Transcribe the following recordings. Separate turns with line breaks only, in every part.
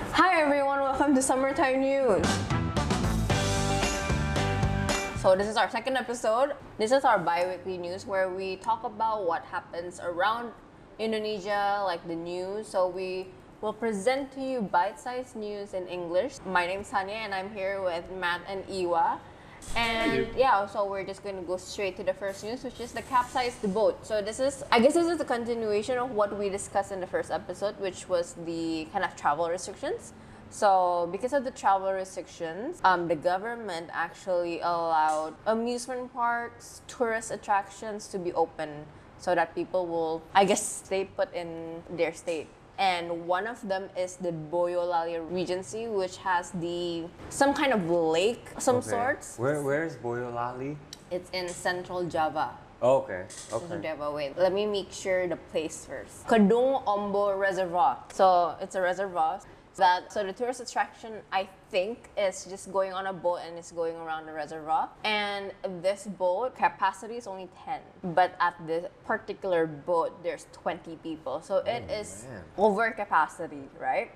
Hi everyone, welcome to Summertime News. So this is our second episode. This is our bi-weekly news where we talk about what happens around Indonesia, like the news. So we will present to you bite-sized news in English. My name's Tanya and I'm here with Matt and Iwa. And yeah, so we're just going to go straight to the first news, which is the capsized boat. So this is, I guess, this is a continuation of what we discussed in the first episode, which was the kind of travel restrictions. So because of the travel restrictions, um, the government actually allowed amusement parks, tourist attractions to be open, so that people will, I guess, stay put in their state and one of them is the Boyolali Regency, which has the some kind of lake, some
Okay.
sorts.
Where where is Boyolali?
It's in central Java.
Oh, okay.
Central
Okay.
Java. Wait, let me make sure the place first. Kedung Ombo Reservoir. So it's a reservoir. That so the tourist attraction I think is just going on a boat and it's going around the reservoir. And this boat capacity is only ten, but at this particular boat there's twenty people. So it is
Oh, man.
over capacity, right?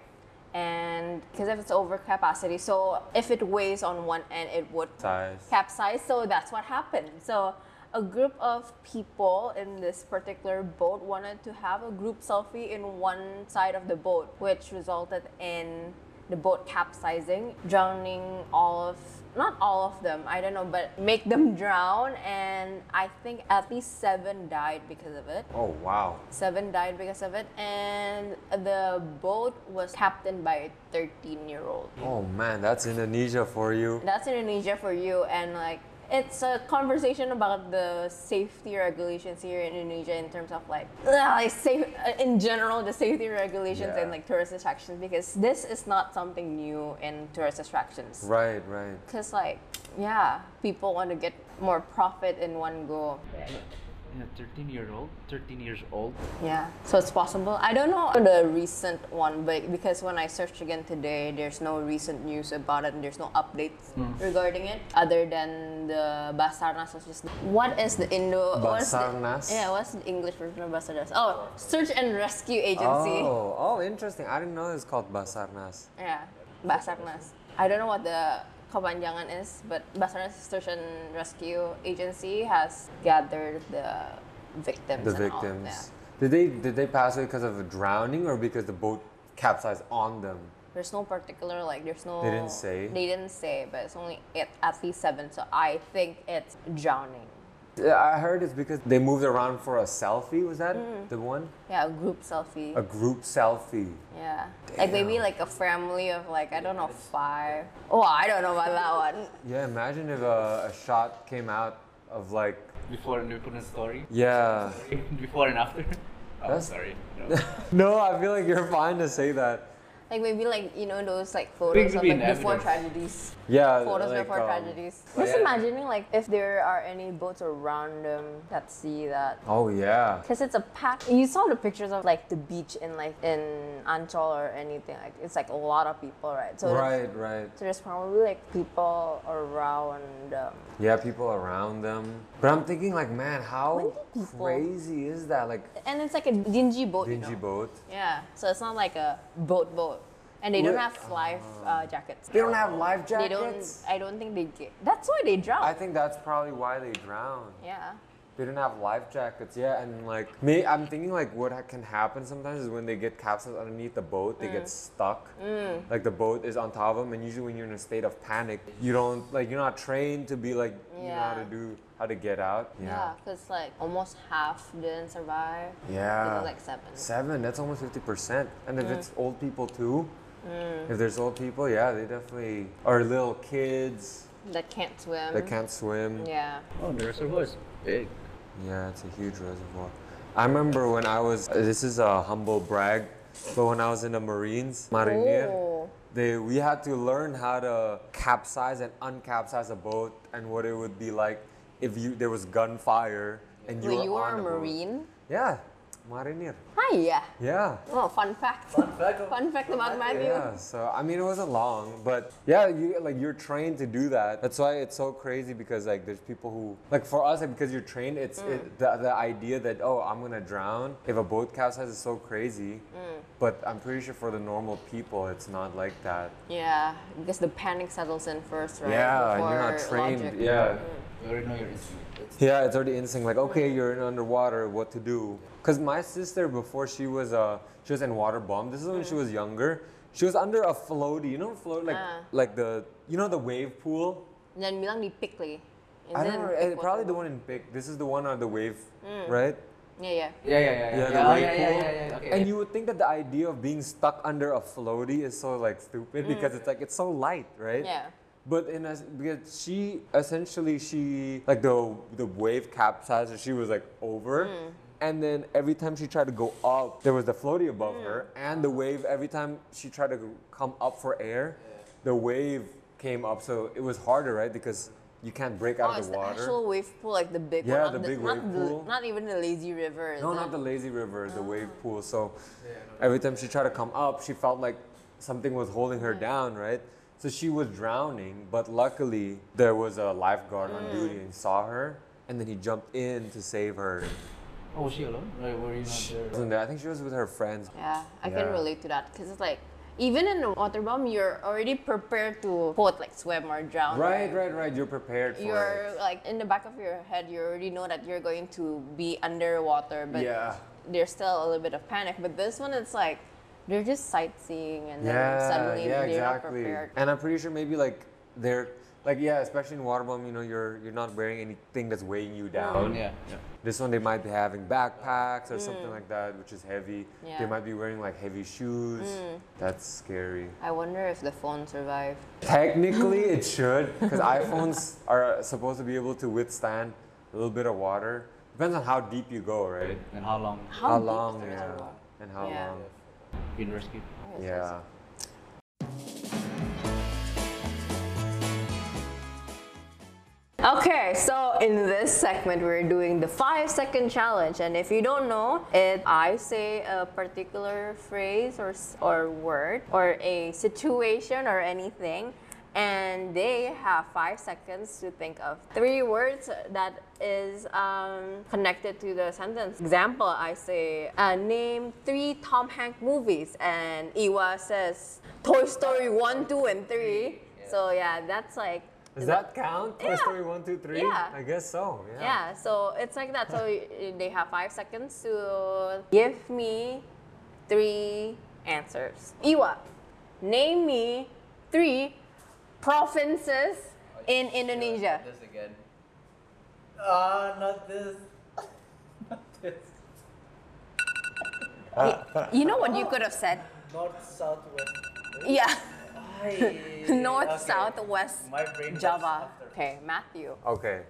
And because if it's over capacity, so if it weighs on one end, it would
Size.
capsized. So that's what happened. So a group of people in this particular boat wanted to have a group selfie in one side of the boat, which resulted in the boat capsizing, drowning all of not all of them, I don't know, but make them drown and I think at least seven died because of it.
Oh wow.
Seven died because of it and the boat was captained by a thirteen year old.
Oh man, that's Indonesia for you.
That's Indonesia for you, and like it's a conversation about the safety regulations here in Indonesia in terms of like, ugh, like safe uh, in general the safety regulations
Yeah.
and like tourist attractions because this is not something new in tourist attractions.
Right, right.
Cause like yeah, people want to get more profit in one go.
Yeah, 13 year old 13 years old
Yeah, so it's possible. I don't know the recent one, but because when I searched again today, there's no recent news about it and there's no updates
Mm.
regarding it other than the Basarnas was just what is the Indo what's the-
Basarnas?
yeah, what's the English version of Basarnas? Oh, Search and Rescue Agency.
Oh, oh, interesting. I didn't know it's called Basarnas.
Yeah, Basarnas. I don't know what the kepanjangan is, but Basarnas Search and Rescue Agency has gathered the victims.
The
and all of
victims.
that.
Did they did they pass away because of drowning or because the boat capsized on them?
There's no particular like there's no
They didn't say?
They didn't say, but it's only at, at least seven, so I think it's drowning.
I heard it's because they moved around for a selfie. Was that the one?
Yeah, a group selfie.
A group selfie.
yeah. Like maybe like a family of like I don't know five. Oh, I don't know about that one.
Yeah, imagine if a, a shot came out of like
before and we put in story
yeah.
before and after oh,
That's-
sorry no.
No, I feel like you're fine to say that.
Like maybe like you know those like photos
could
of
be
like
in
before
evidence.
tragedies.
Yeah.
Photos
like,
before
um,
tragedies.
like-
Just imagining like if there are any boats around them that see that.
Oh yeah.
Cause it's a pack. You saw the pictures of like the beach in like in Anchor or anything. Like it's like a lot of people, right? So it's-
Right, right.
So there's probably like people around um, them.
Yeah, people around them. But I'm thinking like, man,
When
how
did people-
crazy is that? Like
And it's like a dingy boat, you
dingy
know?
boat.
Yeah, so it's not like a boat boat. And they don't
Wait,
have life uh, jackets.
Ah. They don't have life
They don't,
jackets.
I don't think they get, that's why they drown.
I think that's probably why they drown.
yeah.
They don't have life jackets. Yeah, and like me, I'm thinking like what ha- can happen sometimes is when they get capsized underneath the boat, they
Mm.
get stuck. Like the boat is on top of them, and usually when you're in a state of panic, you don't like you're not trained to be like you know how
Yeah.
to do how to get out.
Yeah, because like almost half didn't survive. It
Yeah.
was like seven. Mm.
Seven, that's almost 50%. And if it's old people too, if there's old people, yeah, they definitely are little kids
That can't swim.
that can't swim.
Mm-hmm.
Yeah.
Yeah.
oh the reservoir is big
it's a huge reservoir. I remember when I was, this is a humble brag, but when I was in the Marines, Marinier,
Oh.
they, we had to learn how to capsize and uncapsize a boat and what it would be like if you there was gunfire and you
Wait,
were
you were
on
a
the boat.
marine?
Yeah. marinir.
Hi, yeah.
Yeah.
Oh, fun fact.
Fun fact of-
Fun fact about Matthew.
Yeah, so I mean, it wasn't long, but yeah, you like you're trained to do that. That's why it's so crazy because like there's people who like for us like, because you're trained. It's
Mm.
it, the the idea that oh I'm gonna drown if a boat capsizes is so crazy,
Mm.
but I'm pretty sure for the normal people it's not like that.
Yeah, because the panic settles in first, right?
Yeah, and you're not
Before
trained.
logic.
Yeah.
You already know your instinct. It's
Yeah, it's already instinct. Like, okay, you're in underwater. What to do? Because my sister, before she was uh, she was in water bomb. This is when
Mm.
she was younger. She was under a floaty. You know, float like
Ah.
like the you know the wave pool.
And then bilang di pick lagi. And
I
then
don't know.
pick
eh, Probably the
water.
one in Pick. This is the one on the wave,
Mm.
right?
Yeah, yeah.
yeah, yeah, yeah, yeah.
Yeah, the
yeah, oh,
wave
yeah, yeah,
pool.
yeah, yeah, Okay.
And you would think that the idea of being stuck under a floaty is so like stupid because it's like it's so light, right?
Mm. Yeah.
But in a, because she essentially she like the the wave capsized her, she was like over.
Hmm.
And then every time she tried to go up, there was the floaty above her,
Hmm.
and the wave. Every time she tried to come up for air, the wave came up. So it was harder, right? Because you can't break out
oh,
of
it's the
the water.
actual wave pool, like the big
Yeah,
one. not
the big
not
wave
the-
pool.
Not even the lazy river. is
No,
it?
not the lazy river, the wave
Uh-huh.
pool. So every time she tried to come up, she felt like something was holding her down, right? So she was drowning, but luckily there was a lifeguard on duty
Mm.
and saw her, and then he jumped in to save her.
Oh, was she alone?
Right, were you not there?
Wasn't there? I think she was with her friends.
Yeah, I can
Yeah.
relate to that because it's like even in a water bomb, you're already prepared to both like swim or drown.
Right, right, right. You're prepared for it.
You're like in the back of your head, you already know that you're going to be underwater, but
Yeah.
there's still a little bit of panic. But this one, it's like they're just sightseeing and then
Yeah,
suddenly
yeah,
they're not
exactly.
prepared.
And I'm pretty sure maybe like they're like yeah, especially in water bomb, you know, you're you're not wearing anything that's weighing you down.
Yeah, yeah.
This one they might be having backpacks or something like that, which is heavy.
Mm. Yeah. Mm.
They might be wearing like heavy shoes. That's scary.
I wonder if the phone survived.
Technically, it should, because iPhones are supposed to be able to withstand a little bit of water. Depends on how deep you go, right?
And how long
How, deep is
long,
the
yeah,
reservoir?
and how
Yeah.
long,
been rescued?
yeah.
Okay, so in this segment, we're doing the five second challenge. And if you don't know, if I say a particular phrase or, s- or word or a situation or anything, and they have five seconds to think of three words that is um, connected to the sentence. Example, I say, uh, name three Tom Hanks movies, and Iwa says, Toy Story 1, 2, and 3. So yeah, that's like
Does that count? Toy
Yeah.
Story one, two, three.
Yeah.
I guess so.
Oh.
Yeah.
yeah, so it's like that. So y- they have five seconds to give me three answers. Iwa, name me three provinces in Indonesia.
This again. Ah, not this. not this. Ah.
You know what you could have said?
North, south, west.
Yeah,
Ay,
north,
okay.
south, west,
My brain jumps
Java.
after.
Okay, Matthew,
Okay.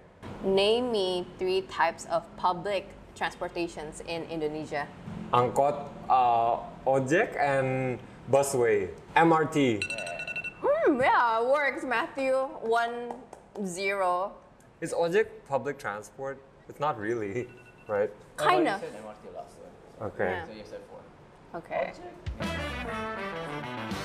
name me three types of public transportations in Indonesia.
Angkot, uh, ojek, and busway. MRT.
Hmm, yeah, works, Matthew. One zero.
Is ojek public transport? It's not really, right?
Oh, no, you
Kinda.
said MRT last time.
Okay.
Yeah.
So you said four.
Okay.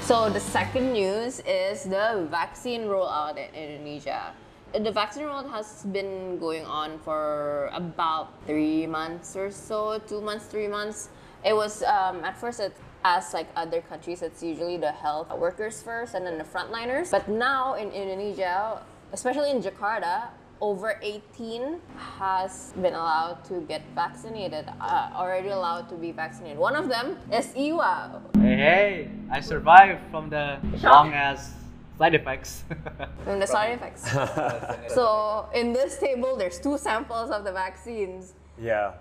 So the second news is the vaccine rollout in Indonesia. The vaccine rollout has been going on for about three months or so, two months, three months. It was um, at first it as like other countries, it's usually the health workers first and then the frontliners. But now in Indonesia, especially in Jakarta, over 18 has been allowed to get vaccinated, uh, already allowed to be vaccinated. One of them is E Iwa,
Hey, hey! I survived from the long ass side effects.
from Mm, the side effects. so in this table, there's two samples of the vaccines:
Yeah.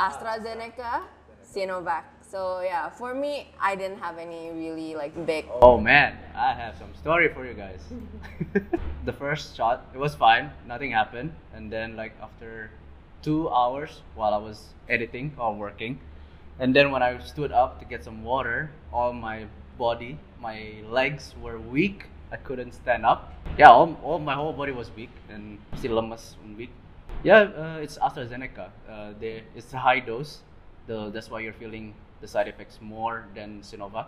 AstraZeneca, Sinovac. So yeah, for me, I didn't have any really like big.
oh man, I have some story for you guys. the first shot, it was fine, nothing happened, and then like after two hours while I was editing or working, and then when I stood up to get some water, all my body, my legs were weak. I couldn't stand up. Yeah, all, all my whole body was weak and still lemas and weak. Yeah, uh, it's AstraZeneca. Uh, they, it's a high dose. the that's why you're feeling the side effects more than Sinovac.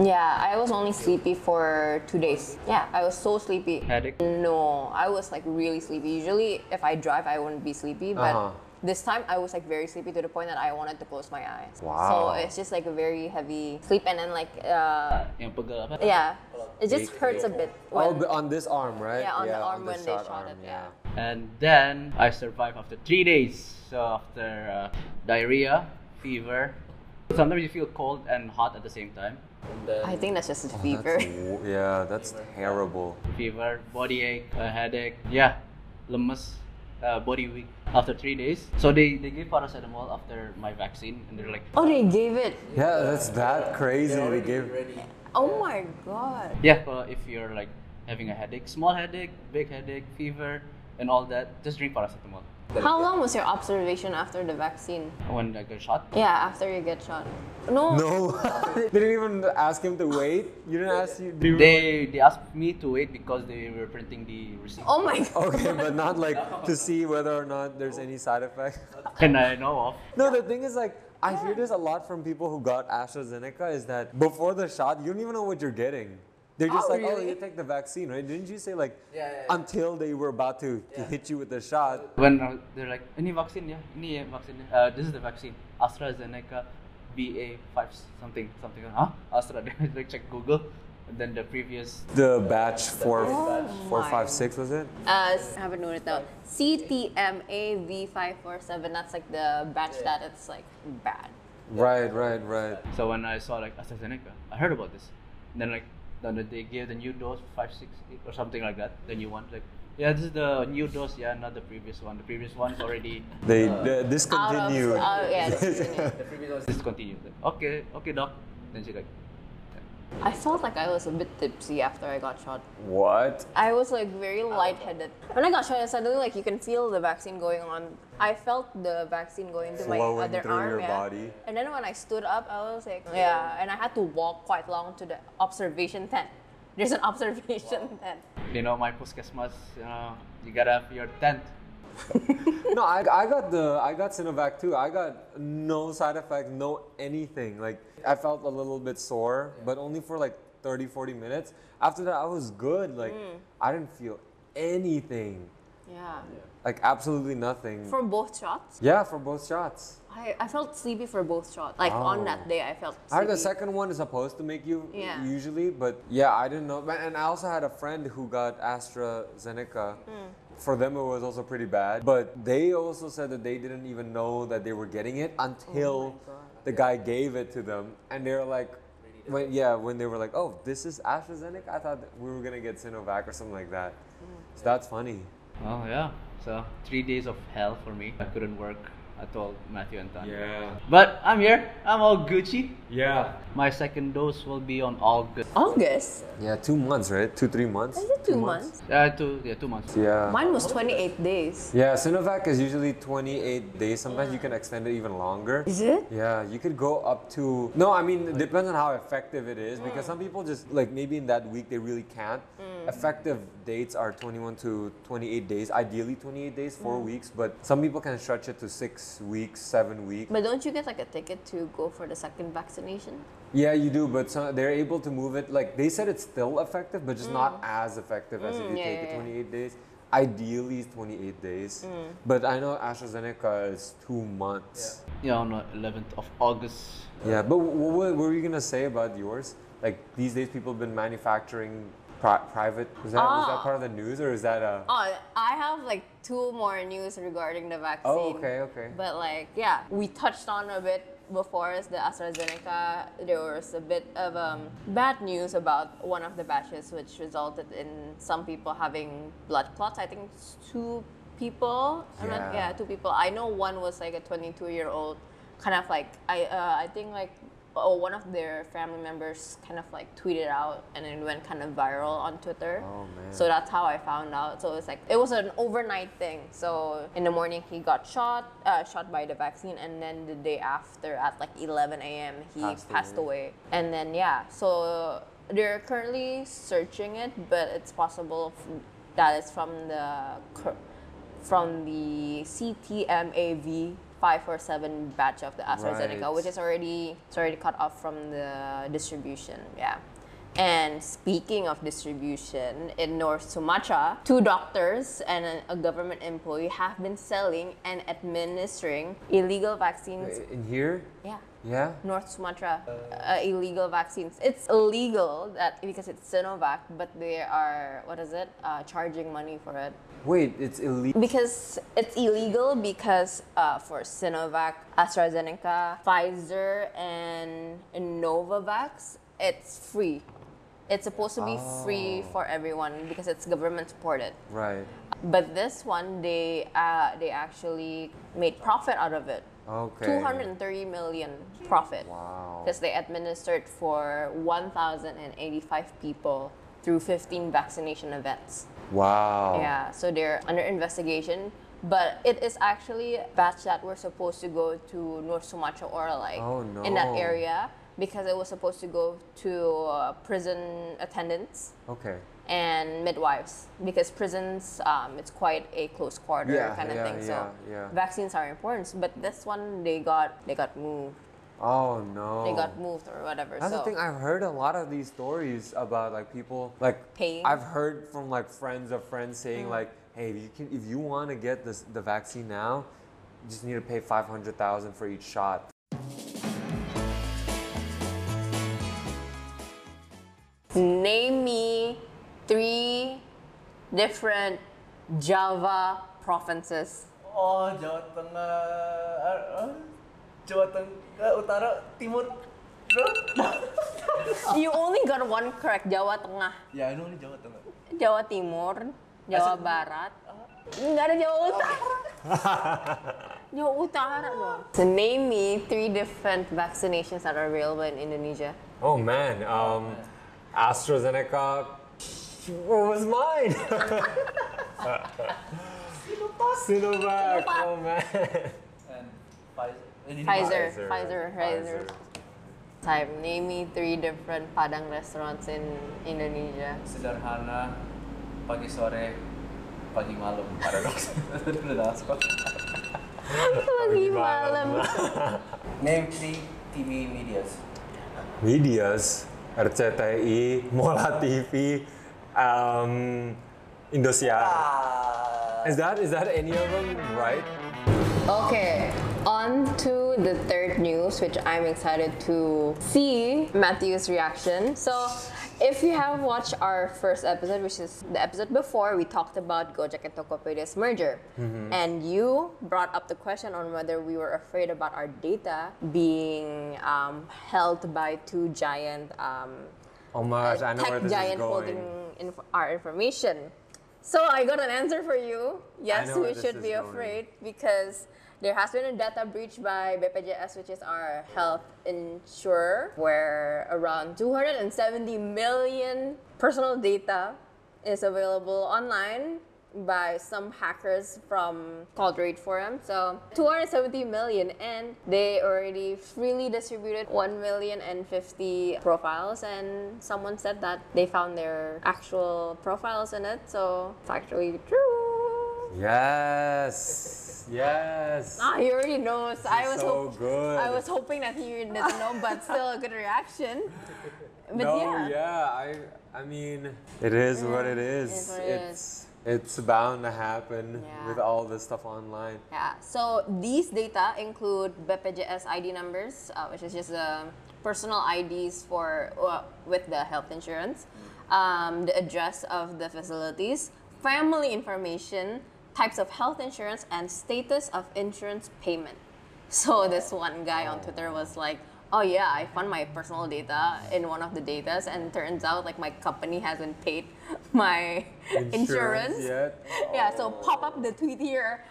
Yeah, I was only sleepy for two days. Yeah, I was so sleepy.
Headache.
No, I was like really sleepy. Usually, if I drive, I wouldn't be sleepy, but
Uh-huh.
this time I was like very sleepy to the point that I wanted to close my eyes.
Wow.
So it's just like a very heavy sleep, and then like, uh,
Yang pegel apa?
yeah, it just hurts a bit.
Oh,
when-
but on this arm, right?
Yeah, on the arm when they shot it, yeah.
And then I survived after three days. So after uh, diarrhea, fever. Sometimes you feel cold and hot at the same time. And then
I think that's just a
That's
fever.
w- yeah, that's terrible.
fever, body ache, a headache. Yeah, lemes, uh, body weak after three days. So they, they gave paracetamol after my vaccine, and they're like,
Oh, they gave it.
Yeah, that's that
They
crazy. They
already
gave
ready.
Oh my god.
yeah, uh, if you're like having a headache, small headache, big headache, fever, and all that, just drink paracetamol.
How long was your observation after the vaccine?
When I got shot,
Yeah, after you get shot. No.
no. they didn't even ask him to wait. You didn't ask you. Do
they they asked me to wait because they were printing the receipt,
Oh my god.
Okay, but not like to see whether or not there's any side effect.
and I know of.
No, the thing is like I hear this a lot from people who got AstraZeneca is that before the shot you don't even know what you're getting. They're just
Oh,
like, oh,
really?
you take the vaccine, right? Didn't you say like
Yeah, yeah, yeah.
until they were about to to hit you with the shot?
When uh, they're like, any vaccine, yeah, any uh, vaccine, yeah. uh, this is the vaccine, AstraZeneca, BA five something something, huh? Astra. like check Google, and then the previous
The batch four,
Oh
four,
my.
five, six was it?
Uh, s- I haven't noted down. CTMAV547. That's like the batch that it's like bad.
Right, right, right.
So when I saw like AstraZeneca, I heard about this. And then like then they gave the new dose five six eight or something like that. Then you want like yeah, this is the new dose. Yeah, not the previous one. The previous one's already
They they
Out of.
discontinued.
oh, yeah, discontinued.
The previous was
discontinued. Like, okay, okay, doc. Then she like
I felt like I was a bit tipsy after I got shot.
what?
I was like very lightheaded. When I got shot, suddenly like you can feel the vaccine going on. I felt the vaccine going to my
Flowing
other
through
arm.
your
yeah.
body.
And then when I stood up, I was like, yeah. And I had to walk quite long to the observation tent. There's an observation tent.
you know my post Christmas, you know, you gotta have your tent.
no, I, I got the I got Sinovac too. I got no side effects, no anything. Like I felt a little bit sore, but only for like 30 40 minutes. After that I was good. Like I didn't feel anything.
Yeah.
Like absolutely nothing.
From both shots,
yeah, for both shots.
I, I felt sleepy for both shots. Like on
Oh.
that day, I felt
I
sleepy.
heard the second one is supposed to make you
Yeah.
usually, but yeah, I didn't know. And I also had a friend who got AstraZeneca.
Hmm.
For them, it was also pretty bad, but they also said that they didn't even know that they were getting it
Oh
until the guy gave it to them, and they were like, when, yeah, when they were like, oh, this is AstraZeneca. I thought that we were gonna get Sinovac or something like that.
Hmm.
So that's funny.
Oh yeah. So three days of hell for me. I couldn't work. I told Matthew and Tan.
Yeah.
But I'm here. I'm all Gucci.
Yeah.
My second dose will be on August.
August?
Yeah, two months, right? Two, three months.
Is it two, months?
Uh, two yeah two months.
Yeah.
Mine was 28 days.
Yeah, Sinovac is usually 28 days. Sometimes you can extend it even longer.
Is it?
Yeah, you could go up to. No, I mean, it depends on how effective it is
Mm.
because some people just, like, maybe in that week they really can't. Effective dates are 21 to 28 days, ideally 28 days, four
Mm.
weeks, but some people can stretch it to six weeks, seven weeks.
But don't you get like a ticket to go for the second vaccination?
Yeah, you do, but some, they're able to move it. Like, they said it's still effective, but just not as effective as if
Mm,
you
yeah,
take
yeah, Mm.
it
yeah.
28 days. Ideally, it's 28 days, but I know AstraZeneca is two months.
Yeah, on the 11th of August.
Yeah, but what, what were you gonna say about yours? Like these days, people have been manufacturing pri- private. Was that, was
Ah.
that part of the news, or is that a?
Oh, I have like two more news regarding the vaccine.
Oh, okay, okay.
But like, yeah, we touched on a bit before is the AstraZeneca. There was a bit of um, bad news about one of the batches, which resulted in some people having blood clots. I think it's two people. I'm not-
Yeah.
yeah, two people. I know one was like a 22 year old, kind of like I. Uh, I think like. Oh, one of their family members kind of like tweeted out and it went kind of viral on Twitter.
Oh, man.
So that's how I found out. So it's like it was an overnight thing. So in the morning he got shot, uh, shot by the vaccine, and then the day after at like 11 a.m. he
Passed
passed, away. And then yeah, so they're currently searching it, but it's possible f- that it's from the cur- from the CTMAV five or seven batch of the AstraZeneca,
Right.
which is already it's already cut off from the distribution. Yeah. And speaking of distribution, in North Sumatra, two doctors and an- a government employee have been selling and administering illegal vaccines.
In here?
Yeah.
Yeah.
North Sumatra uh, illegal vaccines. It's illegal that because it's Sinovac, but they are what is it uh, charging money for it
Wait, it's illegal.
because it's illegal because uh, for Sinovac, AstraZeneca, Pfizer, and Novavax, it's free. It's supposed to be free
Oh.
for everyone because it's government supported.
Right.
But this one, they uh, they actually made profit out of it.
Okay.
230 million profit.
Wow.
Because they administered for 1,085 people through 15 vaccination events.
Wow.
Yeah, so they're under investigation. But it is actually a batch that were supposed to go to North Sumatra or like
Oh,
in that
no.
area because it was supposed to go to uh, prison attendants
Okay.
and midwives because prisons um, it's quite a close quarter
Yeah,
kind of
yeah,
thing so
yeah, yeah.
vaccines are important but this one they got they got moved
Oh no.
they got moved or whatever
That's
so
the thing. I've heard a lot of these stories about like people like
Paying.
I've heard from like friends of friends saying like, "Hey, if you can if you want to get this the vaccine now, you just need to pay five hundred thousand for each shot."
name me three different java provinces
Oh, Jawa Tengah, eh, eh, Jawa Tengah, Utara, Timur.
you only got one correct jawa tengah
ya, ini only Jawa Tengah.
jawa timur jawa barat nggak ada jawa utara jawa utara dong so name me three different vaccinations that are available in indonesia
Oh man, um, AstraZeneca. What was mine? Sinovac. Oh man.
And Pfizer. Eh, Ini
Pfizer,
Pfizer,
Pfizer, Pfizer. Time. Name me three different Padang restaurants in Indonesia.
Sederhana, pagi sore, pagi malam. Paradoks.
Pagi malam.
Name three TV medias.
Medias, RCTI, Mola TV, um, Indosiar.
Ah.
Is that is that any of them right?
Okay, on to the third news, which I'm excited to see Matthew's reaction. So, if you have watched our first episode, which is the episode before, we talked about Gojek and Tokopedia's merger. And you brought up the question on whether we were afraid about our data being um, held by two giant um,
Oh my gosh, I know
tech
where this
giant
is going.
holding inf- our information. So I got an answer for you. Yes,
know
we
where this
should
is
be
going.
afraid because there has been a data breach by BPJS, which is our health insurer, where around 270 million personal data is available online by some hackers from called Raid Forum. So 270 million, and they already freely distributed 1 million and 50 profiles. And someone said that they found their actual profiles in it, so it's actually true.
Yes, yes.
Ah, he already knows. I was
so
hop-
good.
I was hoping that he doesn't know, but still a good reaction. But
no,
yeah.
I I mean, it is what it is.
is what Mm, it
it's it's bound to happen
Yeah.
with all this stuff online.
Yeah. So these data include BPJS ID numbers, uh, which is just the personal IDs for uh, with the health insurance, um, the address of the facilities, family information, types of health insurance, and status of insurance payment. So this one guy on Twitter was like, "Oh yeah, I found my personal data in one of the datas, and turns out like my company hasn't paid my insurance."
yet?
Yeah, so pop up the tweet here.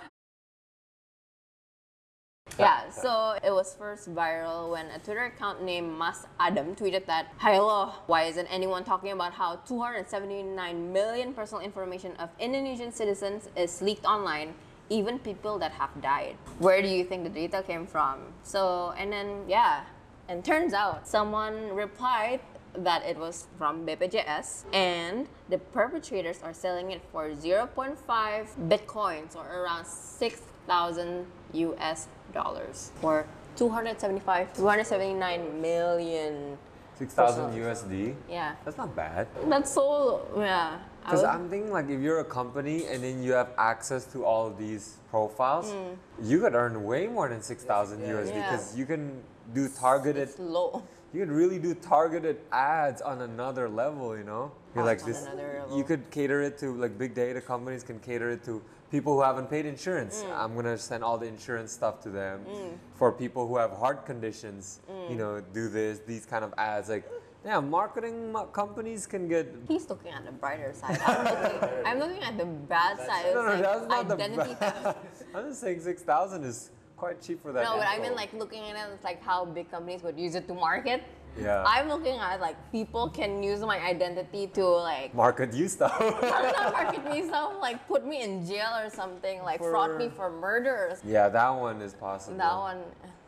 Yeah, so it was first viral when a Twitter account named Mas Adam tweeted that, Hello, why isn't anyone talking about how 279 million personal information of Indonesian citizens is leaked online, even people that have died? Where do you think the data came from? So, and then, yeah, and turns out someone replied that it was from BPJS and the perpetrators are selling it for 0.5 bitcoins or around $6,000 thousand US dollars or 275 279 million.
Six thousand USD.
Yeah,
That's not bad.
that's so yeah. I
Because
would-
I'm thinking like if you're a company and then you have access to all of these profiles, you could earn way more than six thousand USD
Mm. Yeah.
because you can do targeted.
it's low.
You could really do targeted ads on another level. You know, you're like
On
this.
another level.
You could cater it to like big data companies can cater it to people who haven't paid insurance.
Mm.
I'm gonna send all the insurance stuff to them. For people who have heart conditions,
Mm.
you know, do this these kind of ads like. Yeah, marketing mo- companies can get
He's looking at the brighter side. I'm looking, I'm looking at the bad side. It's
No, no,
like
that's not
identity
the
theft.
best. I'm just saying six thousand is quite cheap for that.
No, but I
info.
mean like looking at it, it's like how big companies would use it to market.
Yeah.
I'm looking at like people can use my identity to like
market you stuff.
not market me stuff, like put me in jail or something, like fraud me for murder or
yeah, that one is possible.
That one,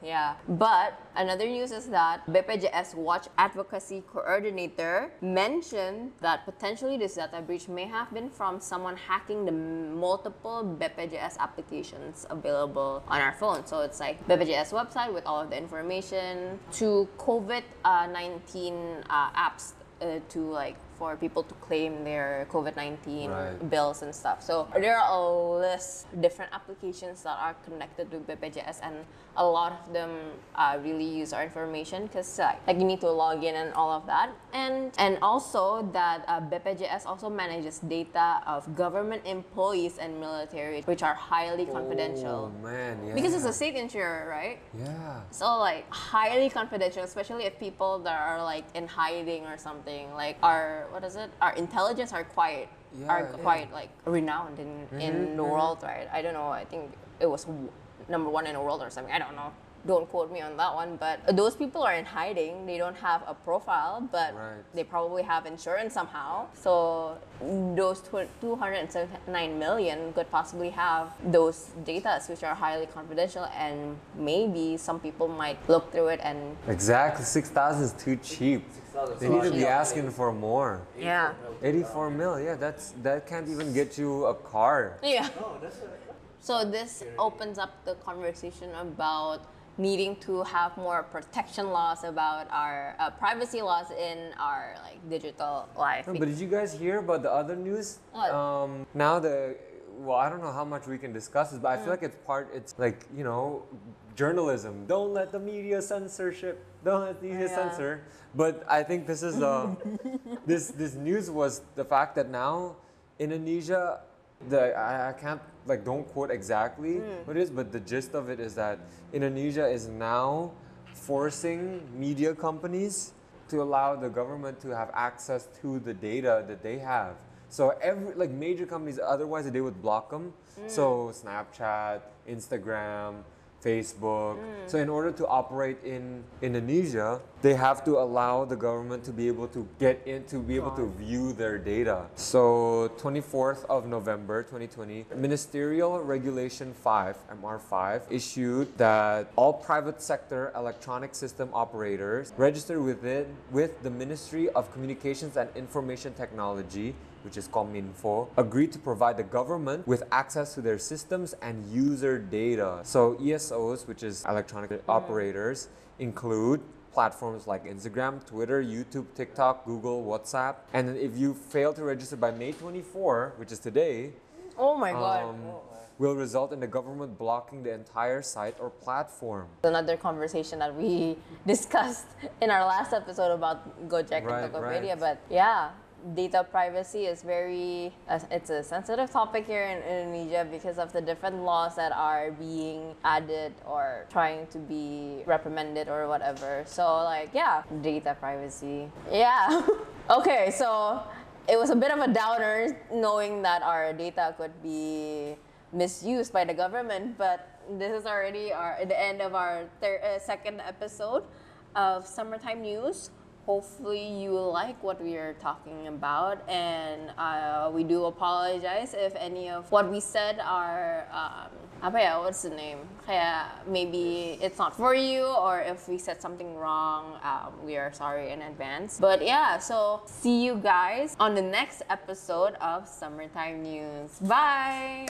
yeah. But another news is that BPJS Watch Advocacy Coordinator mentioned that potentially this data breach may have been from someone hacking the multiple BPJS applications available on our phone. So it's like BPJS website with all of the information to COVID uh, 19 uh, apps uh, to like for people to claim their COVID 19
Right.
bills and stuff. So there are a list different applications that are connected to BPJS, and a lot of them uh, really use our information because like, like you need to log in and all of that, and and also that uh, BPJS also manages data of government employees and military, which are highly confidential.
Oh man, yeah.
Because it's a state insurer, right?
yeah.
So like highly confidential, especially if people that are like in hiding or something, like our what is it? Our intelligence are quiet, are
Yeah, yeah.
quite like renowned in in the world, right? I don't know. I think it was w- number one in the world or something. I don't know. Don't quote me on that one, but those people are in hiding. They don't have a profile, but
Right.
they probably have insurance somehow. So those tw- 279 million could possibly have those data which are highly confidential and maybe some people might look through it and
Exactly, six thousand is too cheap.
6,000
They
is
need to
too
be
cheap.
asking for more.
yeah.
Eighty-four mil, yeah. That's that can't even get you a car.
Yeah.
No, Oh, that's a,
So this opens up the conversation about needing to have more protection laws about our uh, privacy laws in our like digital life.
No, but did you guys hear about the other news?
What?
Um, now the well, I don't know how much we can discuss this, but I feel like it's part. It's like you know, journalism. Don't let the media censorship. Don't let the media
Yeah.
censor. But I think this is uh, this this news was the fact that now Indonesia, the I, I can't like don't quote exactly what it is, but the gist of it is that Indonesia is now forcing media companies to allow the government to have access to the data that they have. So every like major companies, otherwise they would block them. So Snapchat, Instagram, Facebook. So in order to operate in Indonesia, they have to allow the government to be able to get in to be able to view their data. So 24th of November 2020, Ministerial Regulation 5, MR5, issued that all private sector electronic system operators registered within with the Ministry of Communications and Information Technology which is Cominfo, agreed to provide the government with access to their systems and user data. So ESOs, which is electronic operators, include platforms like Instagram, Twitter, YouTube, TikTok, Google, WhatsApp. And then if you fail to register by May 24, which is today,
oh my god.
um, will result in the government blocking the entire site or platform.
another conversation that we discussed in our last episode about Gojek
Right,
and Tokopedia.
right.
But yeah, data privacy is very uh, it's a sensitive topic here in Indonesia because of the different laws that are being added or trying to be reprimanded or whatever. So like yeah, data privacy. Yeah. okay, so it was a bit of a downer knowing that our data could be misused by the government, but this is already our the end of our thir- uh, second episode of summertime news. Hopefully, you like what we are talking about, and uh, we do apologize if any of what we said are um, apa ya, what's the name? Kayak maybe it's not for you, or if we said something wrong, um, we are sorry in advance. But yeah, so see you guys on the next episode of Summertime News. Bye.